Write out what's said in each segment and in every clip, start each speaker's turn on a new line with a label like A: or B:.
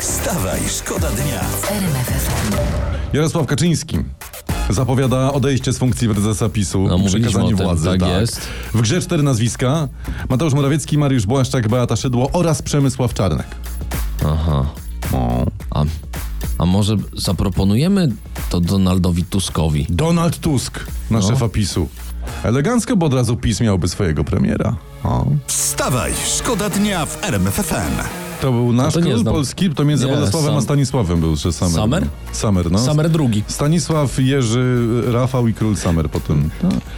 A: Wstawaj, szkoda dnia.
B: RMF FM.
C: Jarosław Kaczyński zapowiada odejście z funkcji prezesa PiSu,
D: No, mówiliśmy
C: przekazanie
D: o tym,
C: władzy.
D: tak jest.
C: W grze cztery nazwiska: Mateusz Morawiecki, Mariusz Błaszczak, Beata Szydło oraz Przemysław Czarnek.
D: Aha.
C: O.
D: A, a może zaproponujemy to Donaldowi Tuskowi?
C: Donald Tusk na
D: No.
C: szefa PiSu. Elegancko, bo od razu PiS miałby swojego premiera. O.
A: Wstawaj, szkoda dnia w RMFFM.
C: To był nasz
D: No to nie
C: król
D: znam.
C: polski, to między
D: Nie,
C: Władysławem
D: Sam-
C: a Stanisławem był, że Samer.
D: Samer?
C: Samer, no.
D: Samer drugi.
C: Stanisław, Jerzy, Rafał i król Samer potem.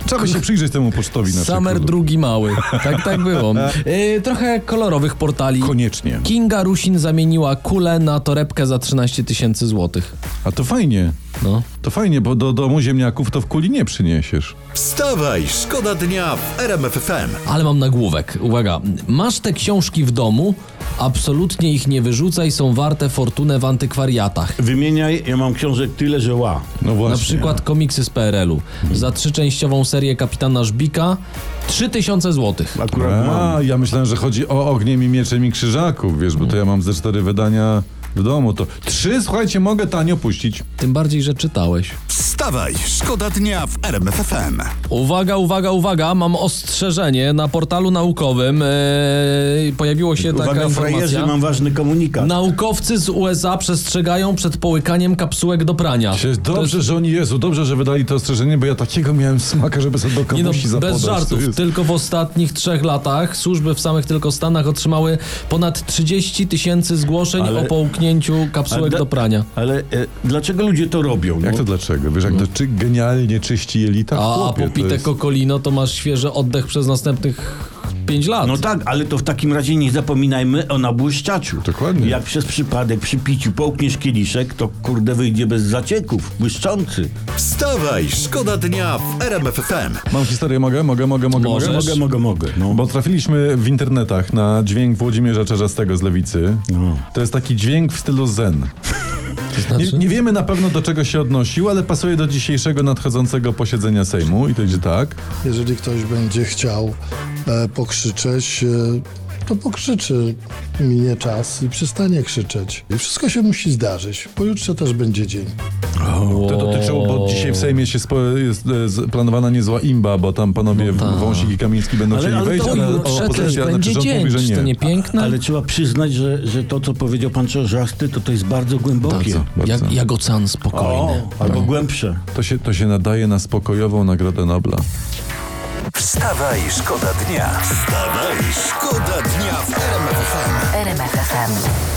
C: Trzeba by się przyjrzeć temu pocztowi naszej
D: No. Samer
C: królu.
D: drugi mały. Tak, tak było. Y, trochę kolorowych portali.
C: Koniecznie.
D: Kinga Rusin zamieniła kulę na torebkę za 13 tysięcy złotych.
C: A to fajnie.
D: No.
C: To fajnie, bo do domu ziemniaków to w kuli nie przyniesiesz.
A: Wstawaj, szkoda dnia w RMFFM.
D: Ale mam nagłówek. Uwaga. Masz te książki w domu? Absolutnie ich nie wyrzucaj, są warte fortunę w antykwariatach.
E: Wymieniaj, ja mam książek tyle, że ła.
C: No właśnie.
D: Na przykład komiksy z PRL-u. Za trzyczęściową serię Kapitana Żbika 3000 złotych.
E: Akurat mam.
C: A, ja myślałem, że chodzi o ogniem i mieczem i krzyżaków, wiesz, bo to ja mam ze cztery wydania w domu. To trzy, słuchajcie, mogę tanio puścić.
D: Tym bardziej, że czytałeś.
A: Wstawaj, szkoda dnia w RMFFM.
D: Uwaga, uwaga, uwaga, mam ostrzeżenie. Na portalu naukowym e, pojawiło się taka
E: Uwaga, frajerzy,
D: informacja.
E: mam ważny komunikat.
D: Naukowcy z USA przestrzegają przed połykaniem kapsułek do prania.
C: Się-
D: To
C: Dobrze,
D: jest-
C: że oni, Jezu, dobrze, że wydali to ostrzeżenie, bo ja takiego miałem smaka, żeby sobie do
D: Nie no,
C: komuś zapodać.
D: bez
C: To
D: żartów.
C: jest-
D: Tylko w ostatnich trzech latach służby w samych tylko Stanach otrzymały ponad 30 tysięcy zgłoszeń
E: Ale-
D: o połknięciu kapsułek
E: Ale-
D: do prania.
E: Ale e, dlaczego ludzie to robią?
C: Jak
E: no?
C: to dlaczego? Wiesz, jak to czy genialnie czyści jelita?
D: A
C: Chłopie, to
D: popite
C: jest-
D: kokolino to masz świeży oddech przez następnych 5 lat.
E: No tak, ale to w takim razie nie zapominajmy o nabłyszczaczu.
C: Dokładnie.
E: Jak przez przypadek przy piciu połkniesz kieliszek, to kurde wyjdzie bez zacieków, błyszczący.
A: Wstawaj, szkoda dnia w RMFFM.
C: Mam historię, mogę? Mogę, mogę, mogę,
D: Możesz.
C: mogę?
E: Mogę, mogę, mogę. No.
C: Bo trafiliśmy w internetach na dźwięk Włodzimierza Czerzastego z Lewicy.
E: No.
C: To jest taki dźwięk w stylu zen.
D: znaczy?
C: Nie, nie wiemy na pewno do czego się odnosił, ale pasuje do dzisiejszego nadchodzącego posiedzenia Sejmu i to idzie tak.
F: Jeżeli ktoś będzie chciał e, pokrzyczeć, e, to pokrzyczy, minie czas i przestanie krzyczeć. I wszystko się musi zdarzyć. Pojutrze też będzie dzień.
C: To dotyczyło, bo dzisiaj w Sejmie się spo, jest e, z- planowana niezła imba, bo tam panowie Wąsik i Kamiński będą
E: Ale-
C: chcieli
E: ale to
C: wejść, ale
E: jutro
D: Przecież
C: opozycja, znaczy
D: będzie
C: rząd
D: dzień,
C: mówi, że
D: czy to nie
C: nie.
D: piękne?
E: Ale trzeba przyznać, że, że to, co powiedział pan Czorzasty, to to jest bardzo głębokie.
C: Bardzo, No. bardzo.
D: Jak, jak ocean spokojny.
E: O, albo głębsze.
C: To, się, to się nadaje na spokojową Nagrodę Nobla.
A: Wstawaj, szkoda dnia. Wstawaj, szkoda dnia w RMFFM.
B: RMF FM.